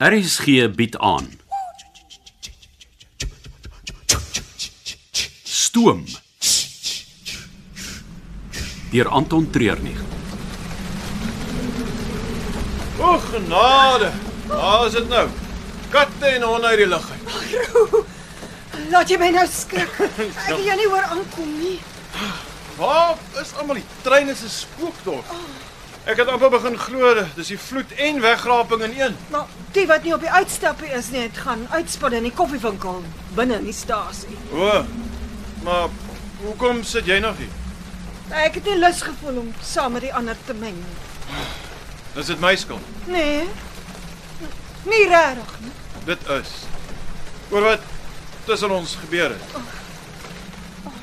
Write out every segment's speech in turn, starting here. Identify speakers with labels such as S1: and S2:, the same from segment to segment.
S1: RSG bied aan. Stoom. Deur Anton Treurnig.
S2: O genade. Waar is dit nou? Katte en honde uit die lug uit.
S3: Laat jy my nou skrik. Ek wil jou nie hoor aankom nie.
S2: Waar is almal die treine se spookdorp? Ek het amper begin glo dis die vloed en wegraping in een.
S3: Maar die wat nie op die uitstappie is nie, het gaan uitspad in die koffiewinkel binne in die stasie.
S2: O. Maar hoekom sit jy nog hier?
S3: Nou, Ek het nie lus gevoel om saam met die ander te meng nie.
S2: Dis dit my skuld.
S3: Nee. Nie regtig nie.
S2: Dit is oor wat tussen ons gebeur het.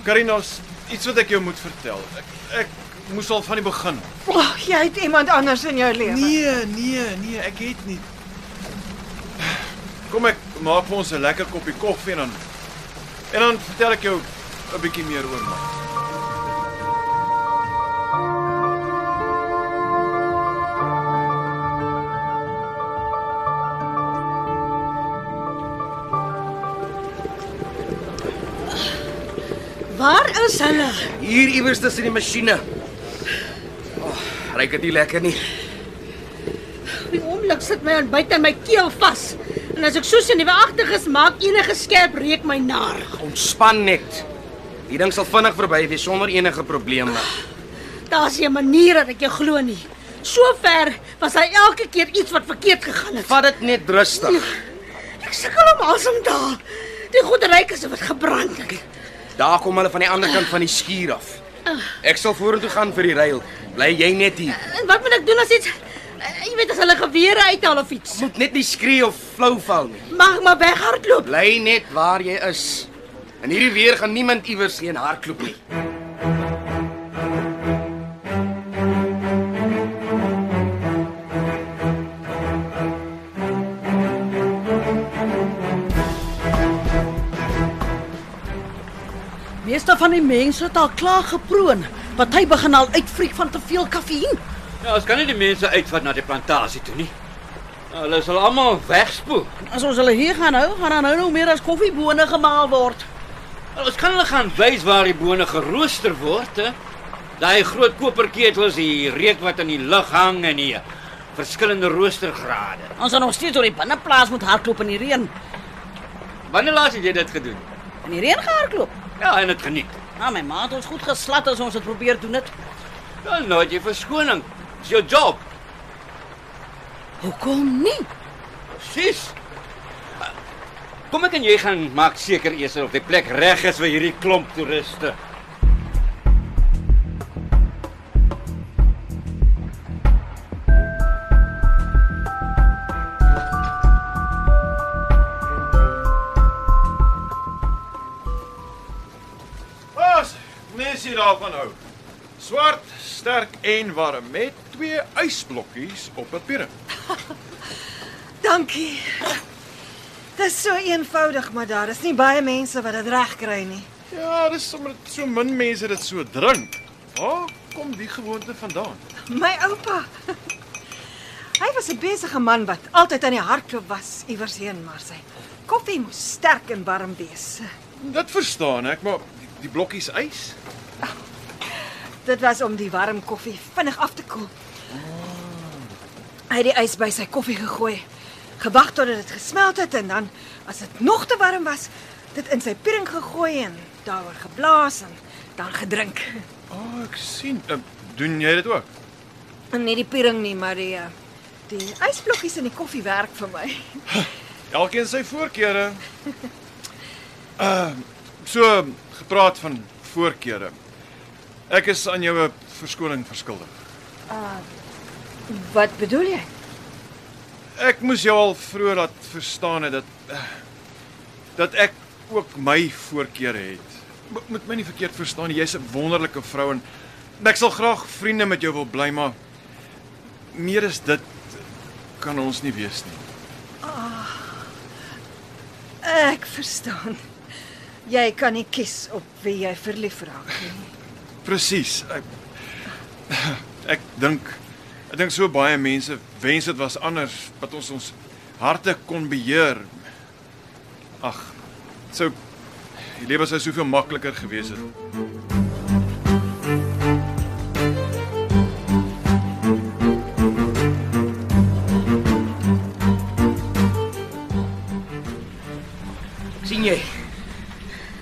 S2: Karinos, iets wat ek jou moet vertel. Ek ek moes al van die begin.
S3: Ag, jy het iemand anders in jou lewe.
S2: Nee, nee, nee, ek het nie. Kom ek maak vir ons 'n lekker koppie koffie en dan en dan vertel ek jou 'n bietjie meer oor my.
S3: Waar is hulle?
S4: Hier iewers tussen die masjiene. Oh, Ryk dit nie lekker nie.
S5: Die oomblik sit my ontbyt in my keel vas. En as ek so senuweeagtig is, maak enige skerp reuk my naar.
S4: Ontspan net. Die ding sal vinnig verby wees sonder enige probleme.
S5: Daar's 'n manier dat ek jou glo nie. So ver was hy elke keer iets wat verkeerd gegaan het.
S4: Vat dit net rustig.
S5: Ek sukkel om asem te haal. Die goed ryk asof dit gebrand het.
S4: Daar kom hulle van die ander kant van die skuur af. Ek sal vorentoe gaan vir die reël. Bly jy net hier.
S5: En wat moet ek doen as iets eh, jy weet as hulle gewere uithaal of iets?
S4: Moet net nie skree of flou val nie.
S5: Mag ek maar weghardloop.
S4: Bly net waar jy is. In hierdie weer gaan niemand iewers heen hardloop nie.
S6: Meeste van die mense het al klaar geproon. Party begin al uitfriek van te veel kafeïen.
S7: Ja, ons kan nie die mense uitvat na die plantasie toe nie. Hulle sal almal wegspoel.
S6: En As ons hulle hier gaan hou, gaan dan nou nou meer as koffiebone gemaal word.
S7: Ons kan hulle gaan wys waar die bone gerooster word, hè. Daai groot koperketels, die reuk wat in die lug hang en die verskillende roostergrade.
S6: Ons gaan nog steeds oor die binneplaas moet hardloop in die reën.
S7: Wanneer laas het jy dit gedoen?
S6: In die reën gehardloop.
S7: Ja, en dit geniet.
S6: Nou my ma het ons goed geslat as ons dit probeer doen dit.
S7: Dan nou het jy verskoning. Dis jou job.
S6: Hoekom nie?
S7: Sis. Kom ek en jy gaan maak seker eers of die plek reg is vir hierdie klomp toeriste.
S2: Pas, mense hier daarvan hou. Swart, sterk en warm met twee ysblokkies op 'n piering.
S3: Dankie. Dis so eenvoudig, maar daar is nie baie mense wat dit reg kry nie.
S2: Ja, dis sommer dat so min mense dit so drink. Waar kom die gewoonte vandaan?
S3: My oupa. Hy was 'n besige man wat altyd aan die hardloop was iewers heen, maar sy koffie moes sterk en warm wees.
S2: Dit verstaan ek, maar die, die blokkies ys?
S3: Dit was om die warm koffie vinnig af te koel. Hy het die ys by sy koffie gegooi, gewag totdat dit gesmelt het en dan as dit nog te warm was, dit in sy piering gegooi en daaroor geblaas en dan gedrink.
S2: O, oh, ek sien. Uh, doen jy dit ook?
S3: En nie die piering nie, maar die eh, die ysblokkies in die koffie werk vir my.
S2: Elkeen sy voorkeure. Ehm uh, so gepraat van voorkeure. Ek is aan jou 'n verskoning verskuldig.
S3: Wat bedoel jy?
S2: Ek moes jou al vroeër laat verstaan het dat uh, dat ek ook my voorkeure het. Mo- Moet my nie verkeerd verstaan nie. Jy's 'n wonderlike vrou en en ek sal graag vriende met jou wil bly, maar meer as dit kan ons nie wees nie.
S3: Ek verstaan. Jy kan nie kies op wie jy verlief raak nie.
S2: Presies. Ek ek dink ek dink so baie mense wens dit was anders wat ons ons harte kon beheer. Ag, sou die lewe sou soveel makliker gewees het.
S4: sien jy?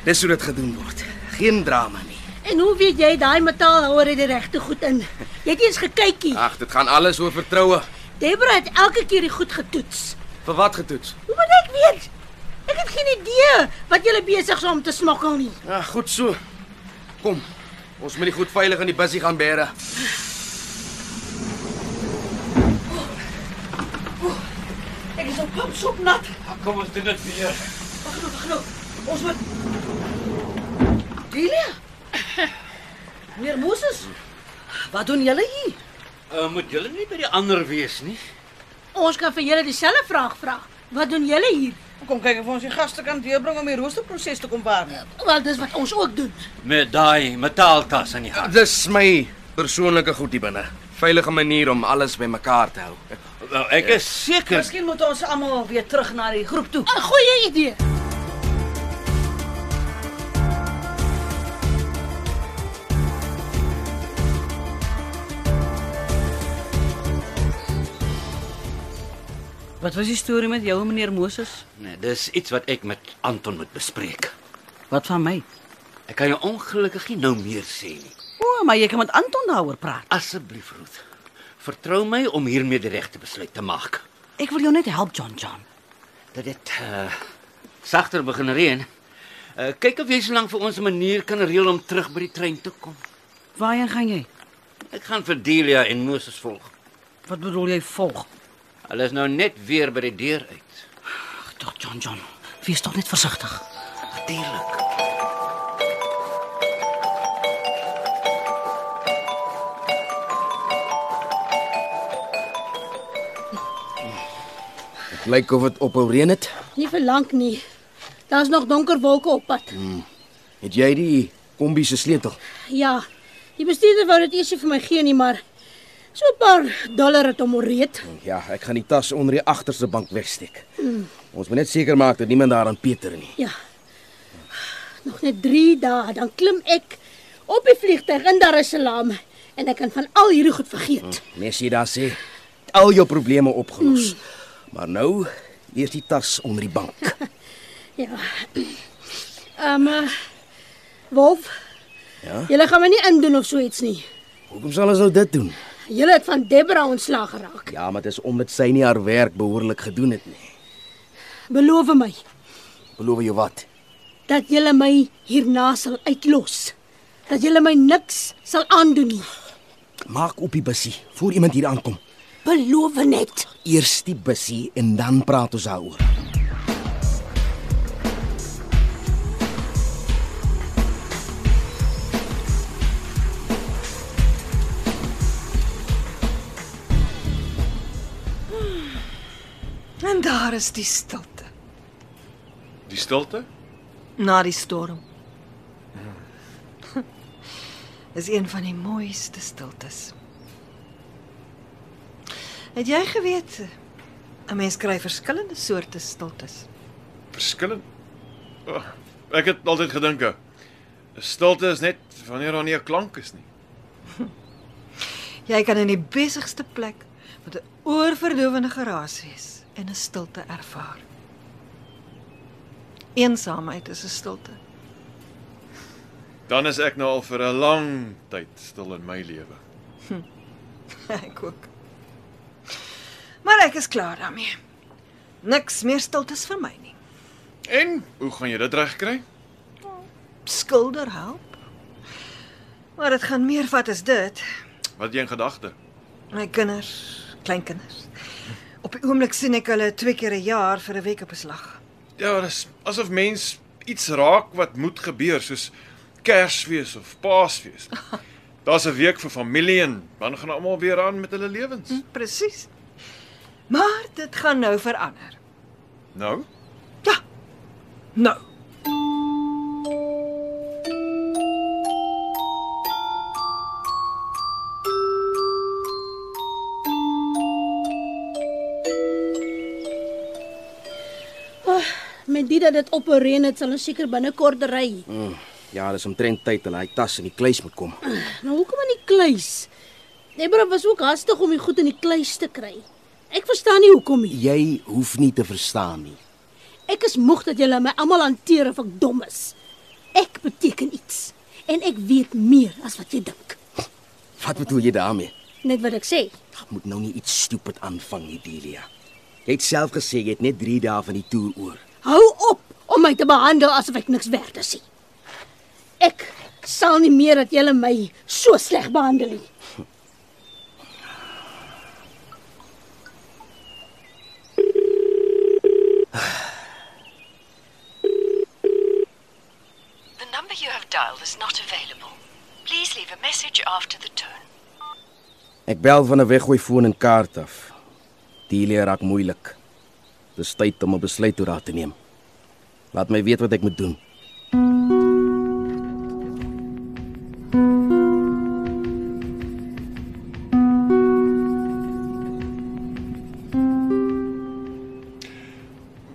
S4: Dis hoe dit gedoen word. Geen drama nie.
S5: En hoe weet jy daai metaalhouer het die regte goed in? Jy het nie eens gekykie.
S7: Ah.
S4: Ag, dit gaan alles oor vertroue.
S5: Debra het elke keer die goed getoets.
S4: Vir wat getoets?
S5: Hoe moet ek weet? Ek het geen idee wat julle besig is om te smokkel nie.
S4: Ag, Ja, goed so. Kom. Ons moet die goed veilig in die bussie gaan bære.
S6: Ek is op pap sop nat.
S7: Ah, Kom ons doen dit weer.
S6: Wag nou, wag nou. Ons moet Delia. Meneer Moses. Wat doen julle hier?
S7: Uh, moet julle nie by die ander wees nie.
S5: Ons kan vir julle dieselfde vraag vra. Wat doen julle hier?
S6: Kom kyk of ons die gaste kan deurbring om die roosterproses te kom waarneem.
S5: Wel, dis wat ons ook doen.
S7: Met daai metaalkas in die hand.
S4: Ja, Dis my persoonlike goed hier binne. Veilige manier om alles bymekaar te hou.
S7: Wel, ek is seker
S6: Miskien moet ons almal weer terug na die groep toe.
S5: 'n Goeie idee.
S6: Wat was die storie met jou en meneer Moses?
S7: nee, dis iets wat ek met Anton moet bespreek.
S6: Wat van my?
S7: Ek kan jou ongelukkig nie nou meer sê nie.
S6: O, maar jy kan met Anton daaroor praat.
S7: Asseblief, Ruth. Vertrou my om hiermee die regte besluit te maak.
S6: Ek wil jou net help, John John.
S7: Dat dit uh, sagter begin reën. Uh, kyk of jy so lank vir ons 'n manier kan reël om terug by die trein te kom.
S6: Waarheen gaan jy?
S7: Ek gaan vir Delia en Moses volg.
S6: Wat bedoel jy volg?
S7: Hulle is nou net weer by die deur uit.
S6: Ag, tog John John. Wees tog net versigtig.
S7: Natuurlik.
S4: Lyk of dit ophou reën het.
S5: Nie vir lank nie. Daar's nog donker wolke op pad.
S4: Het jy die kombi se sleutel?
S5: Ja. Die bestuurder wou dit eers nie vir my gee nie, maar so 'n paar dollar het hom oreed.
S4: Ja, ek gaan die tas onder die agterste bank wegsteek. Ons moet net seker maak dat niemand daaraan peter nie.
S5: Ja. Nog net 3 dae dan klim ek op die vliegtuig in Dar es Salaam en ek kan van al hierdie goed vergeet.
S4: Messie daar sê het al jou probleme opgelos. Maar nou eers die tas onder die bank.
S5: Ja. Ehm eh, Wolf.
S4: Ja?
S5: Julle gaan my nie indoen of so iets nie.
S4: Hoekom sal ons nou dit doen?
S5: Julle het van Debra ontslaag geraak.
S4: Ja, maar dit is omdat sy nie haar werk behoorlik gedoen het nie.
S5: Beloof my
S4: Beloof jy wat?
S5: dat julle my hierna sal uitlos. Dat julle my niks sal aandoen nie.
S4: Maak op die bussie voor iemand hier aankom.
S5: Beloof net.
S4: Eers die bussie en dan praat ons daaroor.
S3: En daar is die stilte
S2: Die stilte?
S3: na die storm. Dis een van die mooiste stiltes. Het jy geweet 'n mens kry verskillende soorte stiltes?
S2: Verskillend. Oh, ek het altyd gedink 'n stilte is net wanneer daar nie 'n klank is nie.
S3: Jy kan in die besigste plek met 'n oorverdowende geraas wees en 'n stilte ervaar. Eensaamheid is 'n stilte.
S2: Dan is ek nou al vir 'n lang tyd stil in my lewe.
S3: Ek ook. Maar ek is klaar daarmee. Niks meer stiltes vir my nie.
S2: En hoe gaan jy dit regkry?
S3: Skilder help. Maar dit gaan meer vat as dit.
S2: Wat het jy in gedagte?
S3: My kinders, kleinkinders. Op die oomblik sien ek hulle twee keer 'n jaar vir 'n week op beslag.
S2: Ja, dis asof mens iets raak wat moet gebeur soos Kersfees of Paasfees. Daar's 'n week vir familie en dan gaan almal weer aan met hulle lewens.
S3: Hm. Presies. Maar dit gaan nou verander.
S2: Nou,
S3: Ja. Nou.
S5: Met dit dat dit opereer het, sal ons seker binnekort ry.
S4: Mm. Ja, dis omtrent tyd en hy tas in die kluis moet kom.
S5: Nou hoekom in die kluis? Debra was ook hastig om die goed in die kluis te kry. Ek verstaan nie hoekom nie.
S8: Jy hoef nie te verstaan nie.
S5: Ek is moeg dat julle my almal hanteer of ek dom is. Ek beteken iets en ek weet meer as wat jy dink.
S4: Wat bedoel jy daarmee?
S5: Net wat ek sê.
S8: Daar moet nou nie iets stupid aanvang nie, Delia. Jy het self gesê jy het net 3 dae van die toer oor.
S5: Hou op om my te behandel asof ek niks werd is nie. Ek sal nie meer dat julle my so sleg behandel nie.
S9: The number you have dialed is not available. Please leave a message after the tone.
S4: Ek bel van 'n weggooi foon en kaart af. Delia raak moeilik. Dis tyd om 'n besluit oor haar te neem. Laat my weet wat ek moet doen.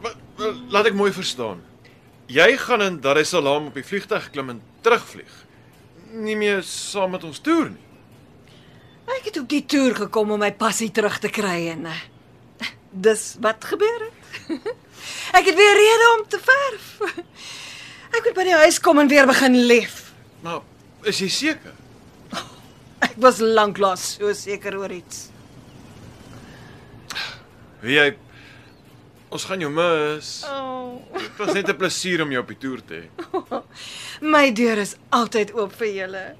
S2: Wat- wat- Laat ek mooi verstaan. Jy gaan in Dar es Salaam op die vliegtuig klim en terugvlieg. Nie meer saam met ons toer nie.
S3: Ek het op die toer gekom om my passie terug te kry en eh, dis wat gebeur het. Ek het weer rede om te verf. Ek moet by die huis kom en weer begin lief.
S2: Maar is jy seker?
S3: Ek was lanklaas so seker oor iets.
S2: Wie jy Ons gaan jou mis.
S3: Oh.
S2: Dit was net 'n plesier om jou op die toer te hê.
S3: My deur is altyd oop vir julle.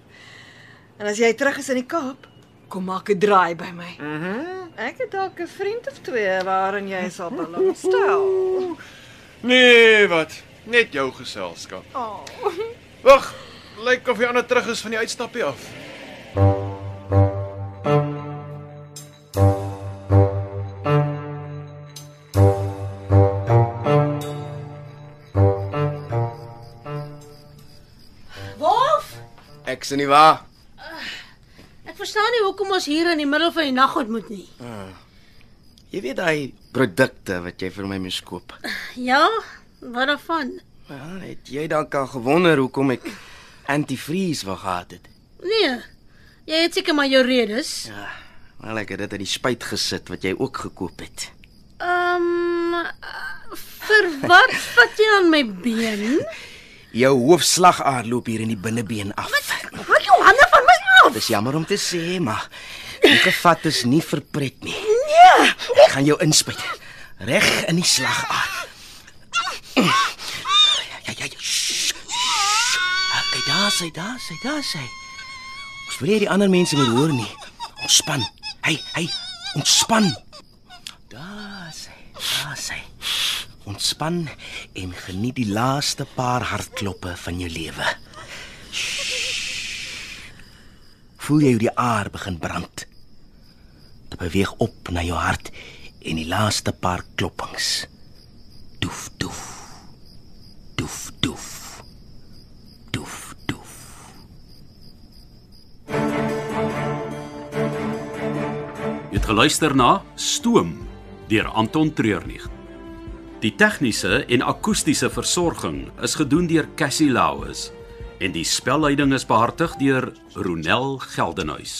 S3: En as jy terug is in die Kaap, kom maak 'n draai by my. Mhm. Mm ek het dalk 'n vriend of twee waarin jy sal belangstel.
S2: Nee, wat? Net jou geselskap.
S3: Oh.
S2: Wag, lyk of die ander terug is van die uitstappie af.
S5: Wolf,
S4: Ek sien nie waar.
S5: ek verstaan nie hoekom ons hier in die middel van die nag ontmoet nie.
S4: Jy weet daai produkte wat jy vir my moes koop.
S5: Ja, wat daarvan?
S4: Ja, het jy dalk al gewonder hoekom ek antifreeze wou gehad het?
S5: Nee. Jy het seker maar jou redes.
S4: Ja, wel ek het dit in die spyt gesit wat jy ook gekoop het.
S5: Ehm um, vir wat vat jy aan my been?
S4: Jou hoofslagaar loop hier in die binnebeen af.
S5: Hou jou hande van my af.
S4: Dis jammer om te sê, maar die gevat is nie vir pret nie. Nee, ek gaan jou inspuit. Reg in die slagaar. Ja, ja, ja. shh, shh. Kyk daar, sy daar, sy daar, sy. Ons wil nie die ander mense moet hoor nie. Ontspan. Hey, hey, ontspan. Daar sy, daar sy. Ontspan en geniet die laaste paar hartklopte van jou lewe. voel jy hoe die aar begin brand. Dit beweeg op na jou hart en die laaste paar kloppings. Doef doef. Doef doef. Doef doef.
S1: Jy het geluister na Stoom deur Anton Treurnig. Die tegniese en akoestiese versorging is gedoen deur Cassie Lauis en die spelleiding is behartig deur Ronel Geldenhuys.